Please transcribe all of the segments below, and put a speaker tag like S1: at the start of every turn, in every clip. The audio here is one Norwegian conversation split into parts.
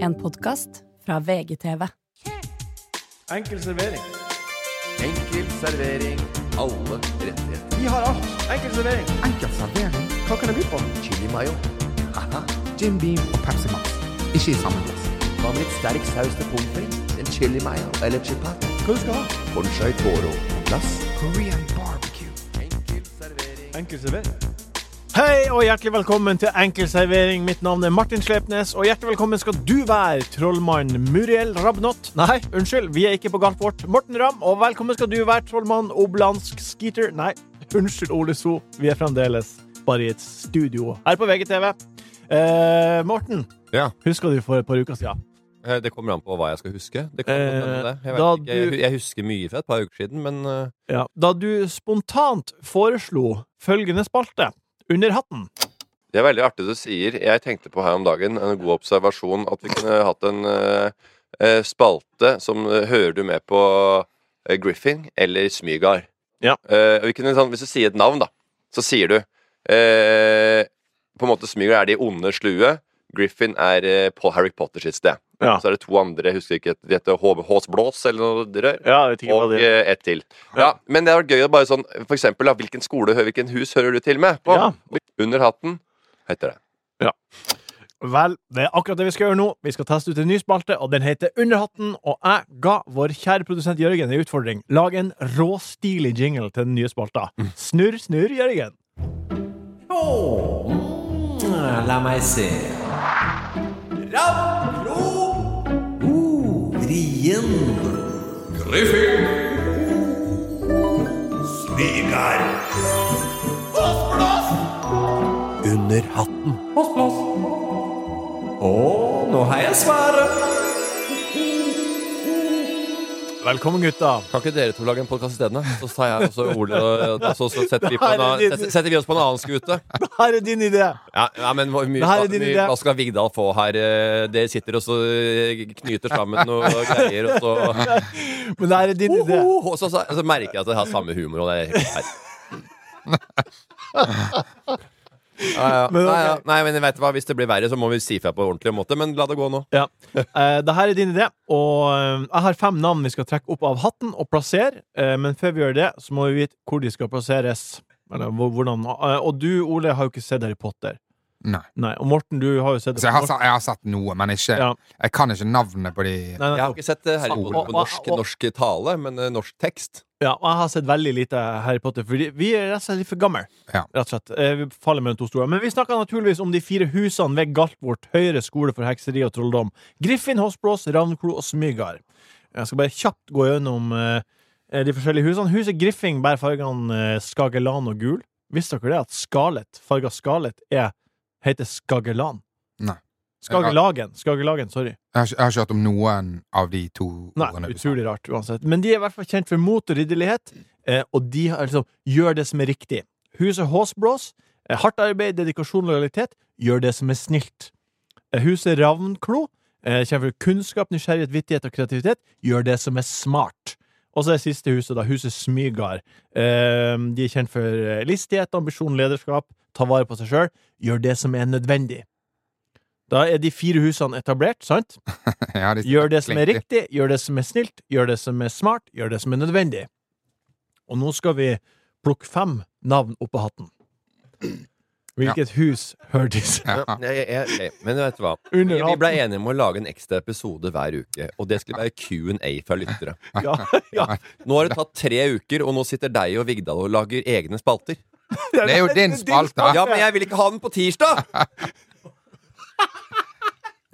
S1: En podkast fra VGTV.
S2: Enkel servering.
S3: Enkel servering. Alle rettigheter.
S2: Vi har alt. Enkel servering.
S4: Enkel servering,
S2: Hva kan jeg by på?
S3: Chili mayo. Haha.
S4: Jim Beam og Pepsi Max. Ikke i samme glass.
S3: Hva med litt sterk saus til pommes frites? En chili mayo eller chipat?
S2: Hva du skal ha?
S3: Ponchai toro på plass.
S4: Korean barbecue.
S3: Enkel servering.
S2: Enkel servering. Hei og hjertelig velkommen til Enkel servering. Mitt navn er Martin Slepnes, og hjertelig velkommen skal du være, trollmann Muriel Rabnott. Nei, unnskyld, vi er ikke på galt vårt. Morten Ramm, og velkommen skal du være, trollmann Oblansk Skeeter. Nei, unnskyld, Ole So. Vi er fremdeles bare i et studio her på VGTV. Eh, Morten,
S5: Ja.
S2: husker du for et par uker siden?
S5: Eh, Det kommer an på hva jeg skal huske. Det kan godt hende det. Jeg,
S2: Eh, da
S5: vet ikke.
S2: du-
S5: Jeg- jeg husker mye fra et par uker siden, men eh,
S2: Ja. Da du spontant foreslo følgende spalte, Under hatten.
S5: det er veldig artig du sier. Jeg tenkte på her om dagen, en god observasjon, at vi kunne hatt en eh, eh, spalte som eh, Hører du med på eh, Griffin eller Smygard?
S2: Ja.
S5: Eh, og vi kunne, sånn, hvis du sier et navn, da, så sier du eh, På en måte Smygard er de onde slue. Griffin er eh, på Harry Potter sitt sted.
S2: Ja.
S5: Så er det to andre, jeg husker ikke, de heter H- Hås Blås eller noe rør.
S2: Ja, jeg vet ikke hva
S5: Og
S2: det
S5: eh, ett til. Ja, men det har vært gøy å bare sånn For eksempel, da, hvilken skole, hø- hvilken hus hører du til med? På?
S2: Ja.
S5: Under hatten heter det.
S2: Vel, det er akkurat det vi skal gjøre nå. Vi skal teste ut en ny spalte, og den heter Underhatten. Og jeg ga vår kjære produsent Jørgen en utfordring. Lag en råstilig jingle til den nye spalta.
S4: Mm.
S2: Snurr, snurr, Jørgen.
S6: La meg se. Ravn, klo. Oh, vrien. Griffin. Svigar. Hossblås. Under hatten. Hossblås. Å, nå har jeg svaret.
S2: Velkommen, gutta.
S5: Kan ikke dere to lage en podkast isteden? Så tar jeg også Ole, og så, så setter, vi på en,
S2: Nei, det-
S5: annen- setter, setter vi oss på en annen skute.
S2: Her er din idé.
S5: Ja, ja men hvor mye,
S2: Det her er din
S5: mye,
S2: idé.
S5: hva skal Vigdal få her? Eh, Dere sitter og så eh, knyter sammen noe greier, og så
S2: Men det her er din idé.
S5: Ho, ho, så, så, så merker jeg at det har samme humor. Og det er helt feil. Ja, ja.
S2: Men ok.
S5: Nei, ja. Nei, men vet du hva? Hvis det blir verre, så må vi si fra på ordentlig måte. Men la det gå nå.
S2: Ja. Eh, det her er din idé, og eh, jeg har fem navn vi skal trekke opp av hatten og plassere. Eh, men før vi gjør det, så må vi vite hvor de skal plasseres. Eller hvor- hvordan eh, Og du, Ole, har jo ikke sett Harry Potter.
S4: Nei.
S2: Nei, Og Morten, du har jo sett
S4: Så jeg har, sa- jeg har sett noe, men ikke
S2: Ja.
S4: Jeg kan ikke navnet på de
S2: Nei, nei,
S5: Jeg har ikke sett eh, Harry Potter på
S2: Og- og-
S5: norsk,
S2: og-
S5: norsk tale, men eh, norsk tekst.
S2: Ja, og jeg har sett veldig lite Harry Potter, fordi vi er rett og slett litt for gamle.
S4: Ja.
S2: Rett og slett. Eh, Vi faller mellom to store. Men vi snakker naturligvis om de fire husene ved Galtvort høyre skole for hekseri og trolldom. Griffin, Hossblås, Ravnklo og Smygard. Jeg skal bare kjapt gå gjennom eh, de forskjellige husene. Huset Griffing bærer fargene eh, Skagelan og gul. Visste dere det at skalet, farga skalet, er, heter Skagelan?
S4: Nei.
S2: Skagelagen. Skagelagen, sorry.
S4: Jeg har, ikke- jeg har ikke hørt om noen av de to
S2: Nei,
S4: du sa.
S2: utrolig rart uansett. Men de er i hvert fall kjent for mot og ridderlighet, eh, og de har liksom gjør det som er riktig. Huset Håsblås, eh, hardt arbeid, dedikasjon og lojalitet, gjør det som er snilt. Eh, huset Ravnklo, eh, kjent for kunnskap, nysgjerrighet, vittighet og kreativitet, gjør det som er smart. Og så er det siste huset, da, huset Smygard. Eh, de er kjent for eh, listighet, ambisjon, lederskap, ta vare på seg sjøl, gjør det som er nødvendig. Da er de fire husene etablert, sant?
S4: Ja, de-
S2: Gjør det som er
S4: klinkte.
S2: riktig, gjør det som er snilt, gjør det som er smart, gjør det som er nødvendig. Og nå skal vi plukke fem navn opp av hatten. Hvilket hus hører disse?
S4: Ja.
S5: Jeg, jeg, jeg, men vet du hva? Vi,
S2: Under
S5: vi ble
S2: hatten.
S5: enige om å lage en ekstra episode hver uke, og det skulle være Q&A fra lyttere.
S2: Ja, ja.
S5: Nå har det tatt tre uker, og nå sitter deg og Vigdal og lager egne spalter.
S4: Det er jo din spalte, da.
S5: Ja, men jeg vil ikke ha den på tirsdag!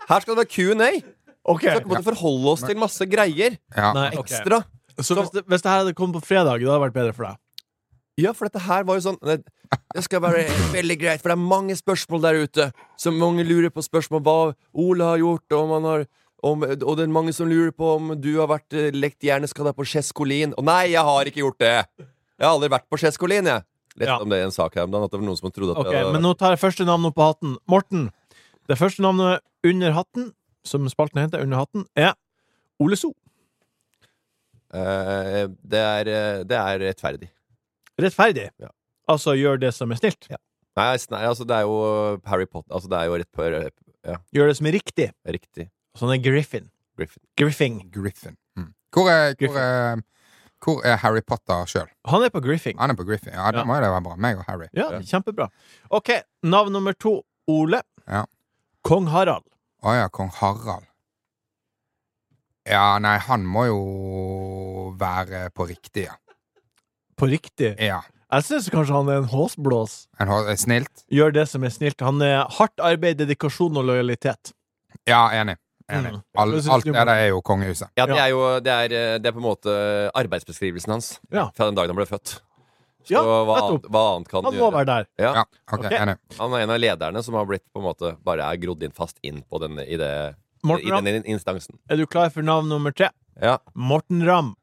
S5: Her skal det være Q&A.
S2: Ok.
S5: Så vi måtte forholde oss til masse greier.
S4: Ja.
S2: Nei, ok.
S5: Ekstra.
S2: Så hvis det, hvis det her hadde kommet på fredag, det hadde vært bedre for deg?
S5: Ja, for dette her var jo sånn Det det skal være veldig greit, for det er mange spørsmål der ute. Så mange lurer på spørsmål hva Ola har gjort, og, om han har, om, og det er mange som lurer på om du har vært eh, lekt hjerneskada på Cheskolin. Og nei, jeg har ikke gjort det! Jeg har aldri vært på Cheskolin, jeg. Lett
S2: Ja.
S5: om det er en sak her om dagen, at det var noen som trodde at
S2: Ok,
S5: jeg hadde
S2: Men nå tar jeg første navn opp av hatten. Morten. Det første navnet under hatten, som spalten heter, under hatten, er Ole So.
S5: Eh, det, er, eh, det er rettferdig.
S2: Rettferdig.
S5: Ja.
S2: Altså gjør det som er snilt.
S5: Nei, s- nei, altså det er jo Harry Potter Altså det er jo rett på ja,
S2: Gjør det som er riktig.
S5: riktig.
S2: Så han er Griffin.
S5: Griffin.
S2: Griffing.
S4: Griffin. Mm. Hvor, er, hvor,
S2: Griffin.
S4: er, hvor er Harry Potter sjøl?
S2: Han er på Griffing.
S4: Han er på Griffin. Ja, da
S2: Ja.
S4: må jo det være bra. Meg og Harry.
S2: Ja, kjempebra. Ok, navn nummer to. Ole.
S4: Ja.
S2: Kong Harald.
S4: Å ja, kong Harald. Ja, nei, han må jo være på riktig, ja.
S2: På riktig.
S4: ja.
S2: Jeg syns kanskje han er en håsblås.
S4: En hår- snilt?
S2: Gjør det som er snilt. Han er hardt arbeid, dedikasjon og lojalitet.
S4: Ja, enig. enig.
S2: Mm.
S4: All,
S2: Jeg synes
S4: alt
S2: du
S4: det
S2: må-
S4: der er jo kongehuset.
S5: Ja, det er jo det er, eh, det er på en måte arbeidsbeskrivelsen hans
S2: Ja.
S5: fra den dagen han ble født. Så
S2: Ja,
S5: hva,
S2: nettopp.
S5: annet- hva annet kan
S2: Han
S5: du
S2: må
S5: gjøre?
S2: være der.
S5: Ja.
S4: Ja,
S2: Ok.
S4: ok, enig.
S5: Han er en av lederne som har blitt på en måte bare er grodd inn fast inn på den, i, det, i
S2: Morten Ramm,
S5: den in- instansen.
S2: er du klar for navn nummer tre?
S5: Ja.
S2: Morten Ramm.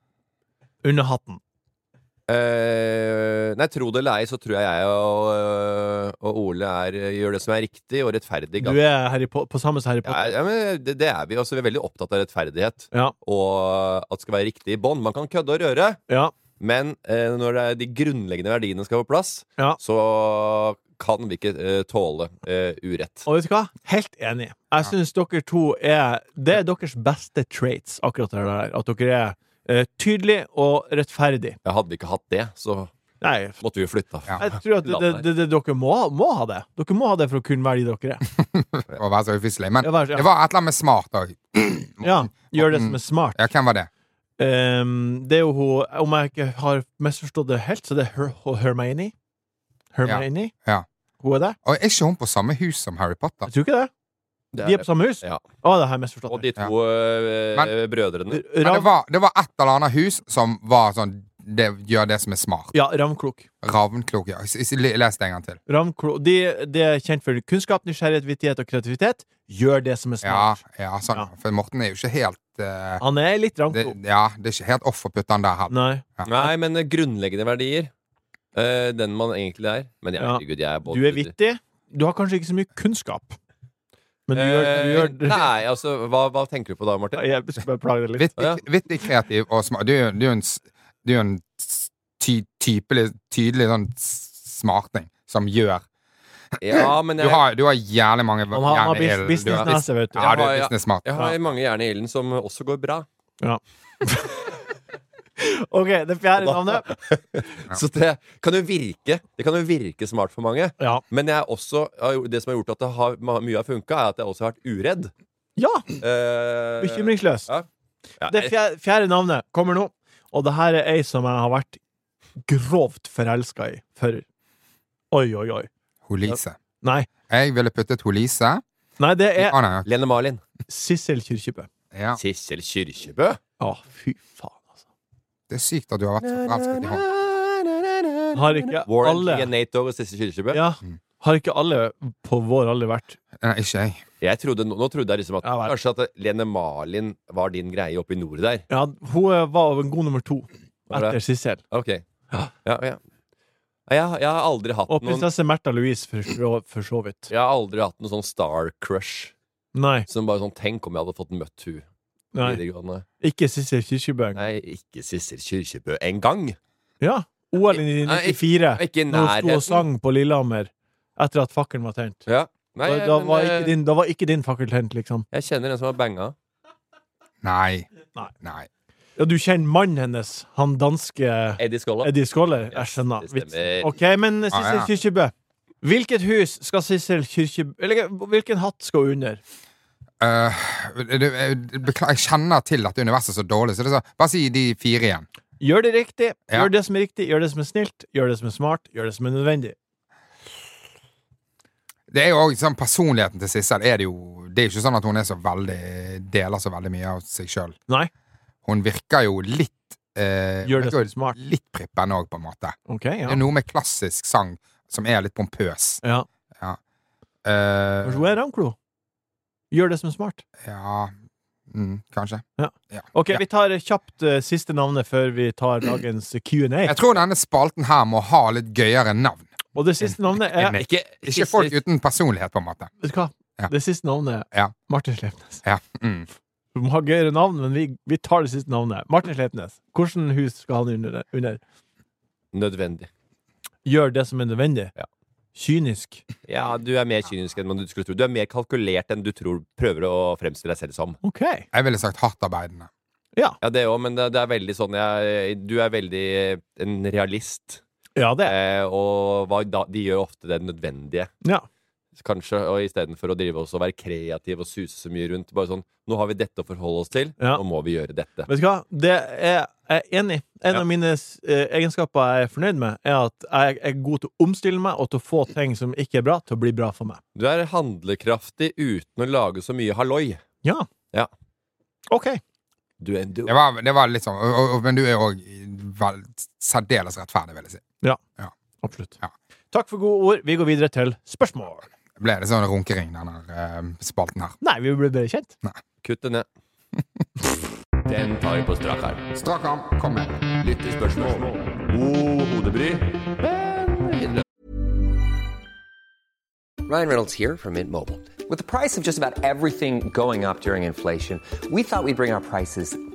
S2: Under hatten.
S5: Eh, nei, tro det eller ei, så tror jeg jeg og, eh, og Ole er, gjør det som er riktig og rettferdig.
S2: Du er Harry Po- på samme som Harry
S5: ja,
S2: Potter.
S5: ja, men det, det er vi. Også, vi er veldig opptatt av rettferdighet
S2: Ja.
S5: og at det skal være riktig i bånd. Man kan kødde og røre,
S2: Ja.
S5: men eh, når det er de grunnleggende verdiene skal på plass,
S2: ja.
S5: så kan vi ikke eh, tåle eh, urett.
S2: Og vet du hva? Helt enig. Jeg syns dere to er Det er deres beste traits, akkurat det der. At dere er eh, tydelig og rettferdig.
S5: Ja, hadde vi ikke hatt det, så
S2: Nei, f-
S5: måtte vi jo flytta.
S4: Ja.
S2: jeg tror at det, det, det, dere må, må ha det. Dere må ha det for å kunne være de dere er.
S4: Å være så ufyselig. Men
S2: Ja, vær så-
S4: det var et eller annet med smart òg.
S2: Ja, gjør det som er smart.
S4: Ja, hvem var det?
S2: Ehm, det er jo hun Om jeg ikke har misforstått det helt, så det er Her Her- Hermione. Hermione.
S4: Ja.
S2: Hun er det?
S4: Og er ikke hun på samme hus som Harry Potter?
S2: Jeg tror ikke det.
S5: Det
S2: De er
S5: er,
S2: på samme hus.
S5: Ja.
S2: Å, det har jeg misforstått.
S5: og de to eh,
S4: Men-
S5: brødrene.
S4: Men det
S2: Rav,
S4: var, det var et eller annet hus som var sånn det, Gjør det som er smart.
S2: ja, Ravnklok.
S4: Ravnklok, ja. S- s- Les det en gang til.
S2: Ravnklo- De, de er kjent for kunnskap, nysgjerrighet, vittighet og kreativitet. Gjør det som er
S4: Ja,
S2: smart.
S4: ja, sånn.
S2: Ja.
S4: For Morten er jo ikke helt eh,
S2: Han er litt
S4: det,
S2: ravnklok.
S4: Ja, det er ikke helt off å putte han der heller.
S2: Nei.
S5: Nei, men eh, grunnleggende verdier. eh, den man egentlig er. Men jeg,
S2: Ja.
S5: herregud, jeg er både
S2: Du er vittig. Du har kanskje ikke så mye kunnskap. Men du gjør, du
S5: Eh,
S2: gjør
S5: Nei, altså, hva, hva tenker du på da, Martin?
S2: Jeg skal bare plage deg litt.
S4: Vittig,
S5: Ja.
S4: vittig, kreativ og smart. Du er jo du er jo en, s- du er jo en s- ty, typelig, tydelig sånn s- smarting som gjør
S5: Ja, men
S4: Du
S5: jeg,
S4: har, du har jævlig mange
S2: Han har, han har
S4: jævlig
S2: bus-
S4: el- du har-
S2: businessnese, vet du.
S4: Ja, du
S5: Ja,
S4: er
S5: ja.
S4: business-smart.
S5: jeg har mange jern i ilden som også går bra.
S2: OK, det fjerde navnet.
S5: Så det kan jo virke Det kan jo virke smart for mange.
S2: Ja.
S5: Men jeg er også, har gjort- det som har gjort at det har, ma- mye har funka, er at jeg også har vært uredd.
S2: ja.
S5: Eh,
S2: Bekymringsløs.
S5: Ja. ja,
S2: Det fjerde, fjerde navnet kommer nå, og det her er ei som jeg har vært grovt forelska i for Oi, oi, oi.
S4: Holise.
S2: Nei,
S4: Jeg ville puttet Holise
S2: Nei det
S4: i
S2: er
S4: ah, nei,
S5: Lene Marlin.
S2: Sissel Kyrkjebø.
S4: ja.
S5: Sissel Kyrkjebø.
S2: Å, fy faen, altså.
S4: Det er sykt at du har vært så forelsket i henne.
S2: Har ikke
S5: Warren
S2: alle
S5: Nato og Sissel Kyrkjebø.
S2: Ja. Har ikke alle på vår alder vært
S4: Nei, ikke jeg.
S5: Jeg trodde, nå, nå trodde jeg liksom at
S2: Ja, vel.
S5: kanskje at Lene Marlin var din greie oppe i nord der.
S2: Ja, hun eh, var en god nummer to
S5: Var det?
S2: etter Sissel.
S5: Ok. Ja, ja. Nei, Jeg, jeg har aldri hatt
S2: Og
S5: noen
S2: prinsesse Märtha Louise, for, så- for så vidt.
S5: jeg har aldri hatt noen sånn star crush.
S2: Nei.
S5: Som bare sånn, Tenk om jeg hadde fått møtt hun i
S2: nei.
S5: videregående.
S2: Ikke Sissel Kyrkjebø.
S5: Nei, ikke Sissel Kyrkjebø engang.
S2: Ja. OL i
S5: Nei, ikke-
S2: 94.
S5: Ikke i
S2: Når hun sto og
S5: nærheten.
S2: sang på Lillehammer etter at fakkelen var tent.
S5: Ja. Nei,
S2: da, da,
S5: men,
S2: var
S5: eh,
S2: ikke din, da var ikke din fakkel tent, liksom.
S5: Jeg kjenner en som har banga.
S4: Nei.
S2: Nei.
S4: Nei.
S2: Ja, du kjenner mannen hennes, han danske
S5: Eddie Skolla.
S2: Eddie Skåler?
S5: Ja,
S2: Jeg skjønner.
S5: det
S2: Vitsen.
S5: stemmer.
S2: OK, men Sissel
S4: Ah, ja.
S2: Kyrkjebø. Hvilket hus skal Sissel Kyrkjebø Eller hvilken hatt skal hun under?
S4: Eh, du, eh, beklager, jeg kjenner til at universet er så dårlig, så det er så, bare si de fire igjen.
S2: Gjør det riktig,
S4: Ja.
S2: gjør det som er riktig, gjør det som er snilt, gjør det som er smart, gjør det som er nødvendig.
S4: Det er jo også, sånn Personligheten til Sissel er det jo Det er jo ikke sånn at hun er så veldig deler så veldig mye av seg sjøl.
S2: Nei.
S4: Hun virker jo litt eh,
S2: Gjør det
S4: virker
S2: som smart.
S4: Litt prippen òg, på en måte.
S2: OK, ja.
S4: Det er noe med klassisk sang som er litt pompøs.
S2: ja.
S4: Eh,
S2: Kanskje hun er ravnklo? Gjør det som er smart.
S4: ja mm, Kanskje.
S2: OK,
S4: Ja.
S2: vi tar eh, kjapt eh, siste navnet før vi tar dagens Q&A.
S4: Jeg tror denne spalten her må ha litt gøyere navn.
S2: Og det siste navnet er
S4: Enig.
S5: Ikke,
S4: Ikke folk uten personlighet, på en måte.
S2: Vet du hva?
S4: Ja.
S2: Det siste navnet er
S4: Ja.
S2: Martin Slepnes.
S4: Ja. Mm.
S2: Vi må ha gøyere navn, men vi, vi tar det siste navnet. Martin Slepnes. Hvilket hus skal han under? under?
S5: Nødvendig.
S2: Gjør det som er nødvendig.
S5: Ja.
S2: Kynisk.
S5: Ja, du er mer kynisk enn man du skulle tro. Du er mer kalkulert enn du tror prøver å fremstille deg selv som.
S2: Ok.
S4: Jeg ville sagt hardtarbeidende.
S5: Ja, det òg, men det, det er veldig sånn jeg, Du er veldig en realist.
S2: Ja, det.
S5: Eh, og hva, da, de gjør ofte det nødvendige.
S2: Ja.
S5: Kanskje, og Istedenfor å drive oss og være kreativ og suse så mye rundt. Bare sånn, Nå har vi dette å forholde oss til,
S2: Ja.
S5: nå må vi gjøre dette.
S2: Vet du hva? Det er jeg er enig i. En
S5: Ja.
S2: av mine eh, egenskaper jeg er fornøyd med, er at jeg er god til å omstille meg og til å få ting som ikke er bra, til å bli bra for meg.
S5: Du er handlekraftig uten å lage så mye halloi.
S2: Ja.
S5: Ja.
S2: OK.
S5: Du er, du,
S4: Det var, det var litt sånn, og, og, men du er òg særdeles rettferdig, vil jeg si.
S2: Absolutt.
S4: Ja.
S2: Takk for gode ord. Vi går videre til spørsmål.
S4: Ble det sånn runkering, denne eh, spalten her?
S2: Nei, vi ble bedre kjent.
S5: Kutt det ned. Den tar vi på strak arm.
S4: Strak arm, kom med.
S5: Lyttespørsmål. God hodebry. Men
S7: Ryan Reynolds here from Mint Mobile. With the price of just about everything going up during inflation, we thought we'd bring our prices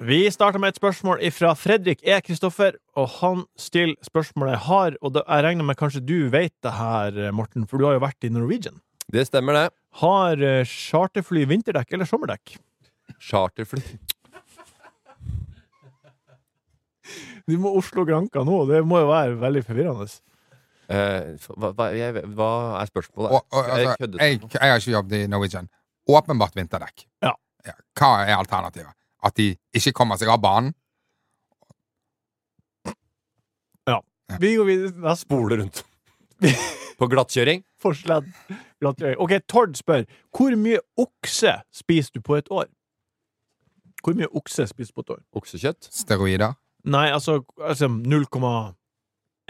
S2: Vi starter med et spørsmål fra Fredrik E. Kristoffer, og han stiller spørsmålet jeg har, og da, jeg regner med kanskje du vet det her, Morten, for du har jo vært i Norwegian.
S5: det stemmer, det.
S2: Har eh, charterfly vinterdekk eller sommerdekk?
S5: Charterfly.
S2: Du må Oslo-Granka nå, det må jo være veldig forvirrende.
S5: Eh, hva, hva, jeg, hva er spørsmålet?
S4: Og, og,
S5: jeg
S4: altså,
S5: køddet.
S4: jeg, jeg har ikke jobbet i Norwegian. Åpenbart vinterdekk.
S2: Ja.
S4: Hva er alternativet? At de ikke kommer seg av banen?
S2: Vi går videre til neste
S5: Spole rundt. på glattkjøring?
S2: forslag. Gratulerer. Ok, Tord spør Hvor mye okse spiser du på et år? Hvor mye okse spiser du på et år?
S5: Oksekjøtt?
S4: Steroider?
S2: Nei, altså, altså 0,1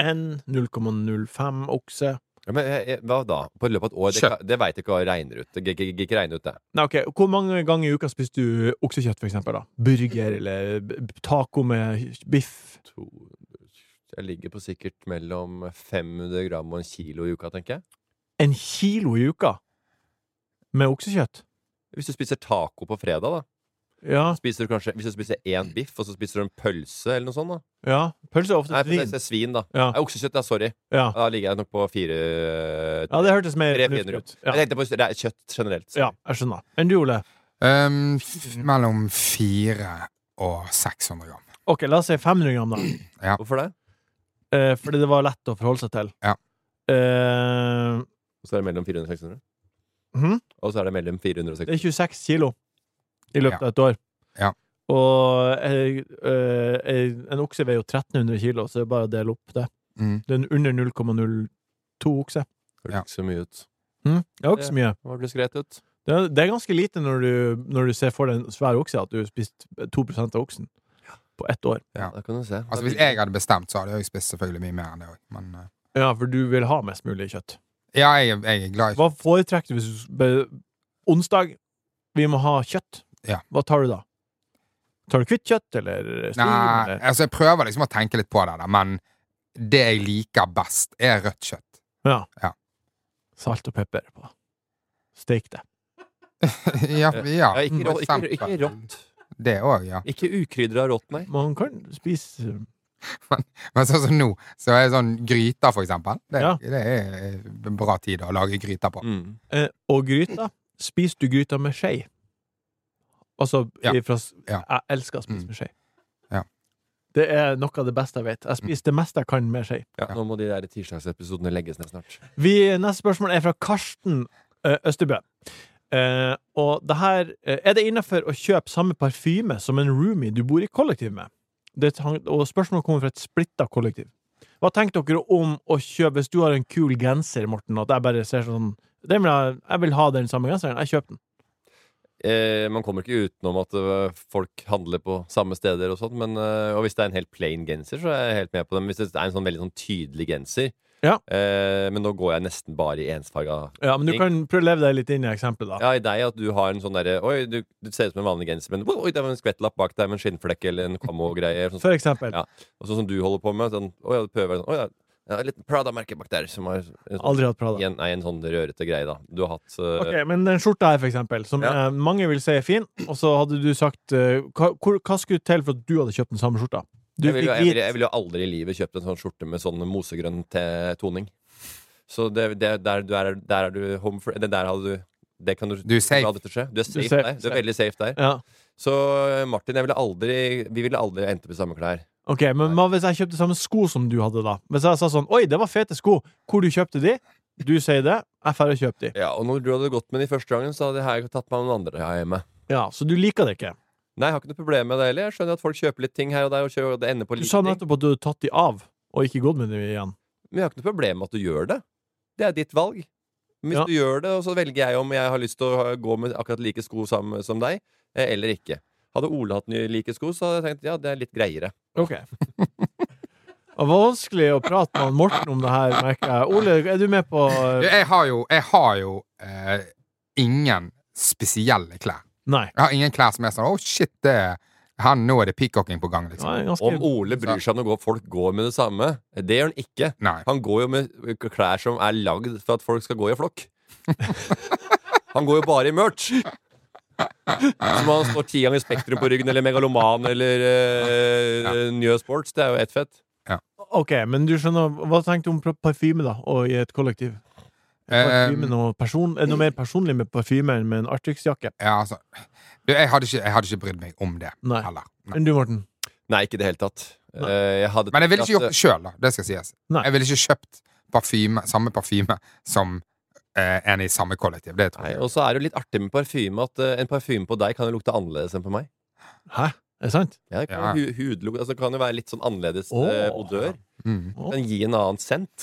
S2: 0,05 okse
S5: Ja, men jeg, jeg, hva da? På løpet av et år? Det,
S4: Kjøtt.
S5: kan- det veit jeg ikke hva regner ut. Det gikk ikke- ikke regne ut, det.
S2: Nei, ok, Hvor mange ganger i uka spiser du oksekjøtt, for eksempel? da? Burger eller b- b- taco med biff?
S5: To- Jeg ligger på sikkert mellom 500 gram og en kilo i uka, tenker jeg.
S2: En kilo i uka med oksekjøtt?
S5: Hvis du spiser taco på fredag, da.
S2: Ja.
S5: Spiser du kanskje, hvis du spiser én biff, og så spiser du en pølse eller noe sånt, da.
S2: ja. Pølse er ofte
S5: Nei, for det
S2: svin.
S5: det er svin, da.
S2: Ja.
S5: Nei, Oksekjøtt, ja, sorry.
S2: Ja.
S5: Da ligger jeg nok på fire
S2: ja, det hørtes mer
S5: Tre
S2: fornuftig
S5: finere.
S2: ut. Ja.
S5: Jeg tenkte på det er kjøtt generelt.
S2: ja, jeg skjønner. Enn du, Ole?
S4: Ehm, f mellom 400 og 600 gram.
S2: Ok, la oss si 500 gram, da.
S5: Hvorfor det?
S2: Eh, fordi det var lett å forholde seg til.
S4: Ja.
S2: Eh,
S5: Og så er det mellom 400 og 600?
S2: Mhm.
S5: Og så er det mellom 400 og
S2: det er
S5: 600.
S2: 26 kilo i løpet av et år.
S4: Ja.
S2: Og eh, eh, en okse veier jo 1300 kilo, så det er bare å dele opp det.
S4: Mm.
S2: Den under 0,02 okse.
S5: Det hørtes ikke så mye ut.
S4: Hm?
S2: Mm. Det er jo ikke så mye.
S5: Det hørtes greit ut.
S2: Det er, det er ganske lite når du, når du ser for deg en svær okse, at du har spist 2 av oksen på ett år.
S4: Ja.
S5: Da kan du se.
S4: Altså Hvis jeg hadde bestemt, så hadde jeg spist selvfølgelig mye mer enn det òg. Men eh,
S2: Ja, for du vil ha mest mulig kjøtt.
S4: ja, jeg, er- jeg er glad i
S2: Hva foretrekker du hvis du s- be- Onsdag, vi må ha kjøtt.
S4: Ja.
S2: Hva tar du da? Tar du hvitt kjøtt, eller stiv?
S4: Nei,
S2: eller-
S4: altså Jeg prøver liksom å tenke litt på det, da, men det jeg liker best, er rødt kjøtt.
S2: Ja.
S4: Ja.
S2: Salt og pepper på. Steik det.
S4: ja, ja.
S5: Ja, ikke,
S4: for
S5: rå, ikke, ikke
S4: eksempel.
S5: rått.
S4: Det òg, ja.
S5: Ikke ukrydra rått, nei.
S2: Man kan spise
S4: Men sånn som nå, så er det sånn gryter, for eksempel. Det,
S2: Ja.
S4: det er en bra tid å lage gryter på.
S5: Mm.
S2: eh, Og gryta. Spiser du gryta med skje? Altså
S4: Ja.
S2: ifra s-
S4: Ja.
S2: Jeg elsker å spise
S4: Mm.
S2: med skje.
S4: Ja. Mm.
S2: Det er noe av det beste jeg vet. Jeg spiser det meste jeg kan med skje.
S5: Ja, nå må de der tirsdagsepisodene legges ned snart.
S2: Vi, neste spørsmål er fra Karsten eh, Østerbø. Eh, og det her eh, Er det innafor å kjøpe samme parfyme som en roomie du bor i kollektiv med? Det, tang- og spørsmålet kommer fra et splitta kollektiv. Hva tenker dere om å kjøpe Hvis du har en kul genser, Morten, og at jeg bare ser sånn den vil jeg, jeg vil ha den samme genseren. Jeg kjøper den.
S5: Eh, man kommer ikke utenom at øh, folk handler på samme eh, steder og sånt, men øh, og hvis det er en helt plain genser, så er jeg helt med på det. Men hvis det er en sånn veldig sånn tydelig genser,
S2: Ja.
S5: Eh, men nå går jeg nesten bare i ensfarga
S2: Ja, men du
S5: ting.
S2: kan prøve å leve deg litt inn i eksempelet, da.
S5: Ja, i deg at du har en sånn derre Oi, du, du ser ut som en vanlig genser, men oi, det var en skvettlapp bak deg med en skinnflekk eller en kammo-greie. Sånn,
S2: For eksempel.
S5: Ja. og sånn som du holder på med. Sånn, oi, ja, du prøver, sånn, oi, ja, ja, et lite Prada-merke bak der. Som har en sånn,
S2: Aldri hatt Prada.
S5: en, nei, en sånn rørete greie, da. Du har hatt eh,
S2: Ok, Men den skjorta her, for eksempel, som
S5: Ja.
S2: eh, mange vil si er fin, og så hadde du sagt eh, hva, hvor, hva skulle til for at du hadde kjøpt den samme skjorta? Du
S5: jeg, ville,
S2: fikk
S5: jeg,
S2: vite
S5: ville, jeg ville jo aldri i livet kjøpt en sånn skjorte med sånn mosegrønn te- toning. Så det, det, der, du er, der er du home for Det der hadde du Det kan du,
S4: Du er safe.
S5: la dette skje. Du er safe,
S2: safe,
S5: der. Du
S2: safe.
S5: er veldig safe der.
S2: ja.
S5: Så eh, Martin, jeg ville aldri Vi ville aldri endt opp i samme klær.
S2: Ok, men hva hvis jeg kjøpte samme sko som du hadde, da? Hvis jeg sa sånn Oi, det var fete sko! Hvor du kjøpte de? Du sier det, jeg drar og kjøper de.
S5: Ja, Og når du hadde gått med de første gangen, så hadde jeg tatt meg med noen andre her hjemme.
S2: Ja, Så du liker det ikke?
S5: Nei, jeg har ikke noe problem med det heller. Jeg skjønner at folk kjøper litt ting her og der, og kjører, og det ender på
S2: Du
S5: like
S2: sa
S5: ting.
S2: nettopp at du hadde tatt de av, og ikke gått med de igjen.
S5: Men jeg har ikke noe problem med at du gjør det. Det er ditt valg. Men hvis
S2: Ja.
S5: du gjør det, og så velger jeg om jeg har lyst til å ha- gå med akkurat like sko sammen som deg, eh, eller ikke. Hadde Ole hatt nye like sko, så hadde jeg tenkt ja, det er litt greiere.
S2: Ok. Det var vanskelig å prate med han Morten om det her, merker jeg. Ole, er du med på
S4: Du, Jeg har jo, jeg har jo eh, ingen spesielle klær.
S2: Nei.
S4: Jeg har ingen klær som er sånn Å, shit, det er, her, nå er det peacocking på gang,
S2: Nei,
S4: liksom.
S2: ganske...
S5: Om Ole bryr seg om å gå, folk går med det samme. Det gjør han ikke.
S4: Nei.
S5: Han går jo med klær som er lagd for at folk skal gå i flokk. Han går jo bare i merch. Som om han står ti ganger Spektrum på ryggen, eller Megaloman, eller eh, Njø Sports. Det er jo ett fett.
S2: Ok, men du skjønner Hva tenkte du om pr- parfyme, da, og i et kollektiv? Parfyme,
S4: Eh,
S2: noe, person, er det noe mer personlig med parfyme enn med en Arctic-jakke?
S4: ja, altså, du, jeg, hadde ikke, jeg hadde ikke brydd meg om det
S2: Nei.
S4: heller. Nei.
S2: Enn du, Morten?
S5: Nei, ikke i det hele tatt.
S2: Nei.
S5: Eh, jeg hadde
S4: Men jeg ville
S5: tenkt
S4: ikke
S5: at,
S4: gjort det sjøl, da. Det skal sies.
S2: Nei.
S4: Jeg ville ikke kjøpt parfyme, samme parfyme som eh, en i samme kollektiv. Det tror
S5: Nei,
S4: jeg.
S5: og så er det jo litt artig med parfyme at eh, en parfyme på deg kan jo lukte annerledes enn på meg.
S2: Hæ? Er det sant?
S5: Ja, det kan,
S4: Ja.
S5: jo hu- hudlukt- altså, det kan jo være litt sånn annerledes
S2: Åh.
S5: eh, odør.
S4: Mm.
S2: Åh.
S5: Den gir en annen scent.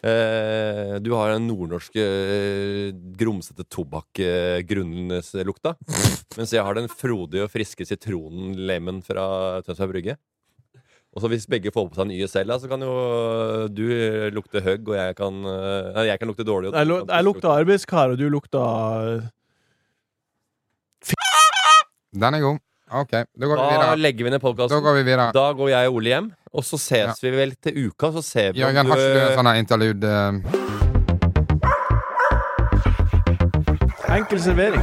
S5: Eh, du har den nordnorske eh, grumsete tobakk-grunnlukta. mens jeg har den frodige og friske sitronen-lemen fra Tønsberg Brygge. Og så Hvis begge får på seg en YSL, da, så kan jo eh, du lukte høgg, og jeg kan eh, Nei, jeg kan lukte dårlig. og du
S2: Jeg, lu
S5: kan
S2: jeg lukta arbeidskar, og du lukta
S4: Den er god. OK, da går vi
S5: Da
S4: videre.
S5: legger vi ned podkasten.
S4: Da går vi videre.
S5: Da går jeg og Ole hjem, og så ses vi vel til uka. Så ser vi
S4: Jørgen,
S5: om
S4: har
S5: du
S4: ikke du en sånn her interlude eh,
S2: eh, enkel servering.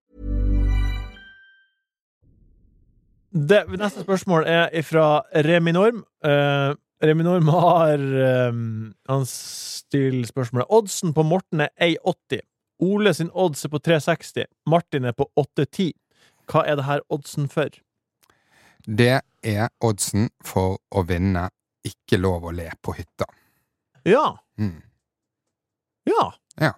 S2: Det, neste spørsmål er fra Reminorm. Eh, Reminorm har eh, Han stiller spørsmålet Oddsen på Morten er 1,80. Ole sin odds er på 3,60. Martin er på 8,10. Hva er det her oddsen for?
S4: Det er oddsen for å vinne Ikke lov å le på hytta.
S2: Ja.
S4: Mm.
S2: Ja.
S4: Ja.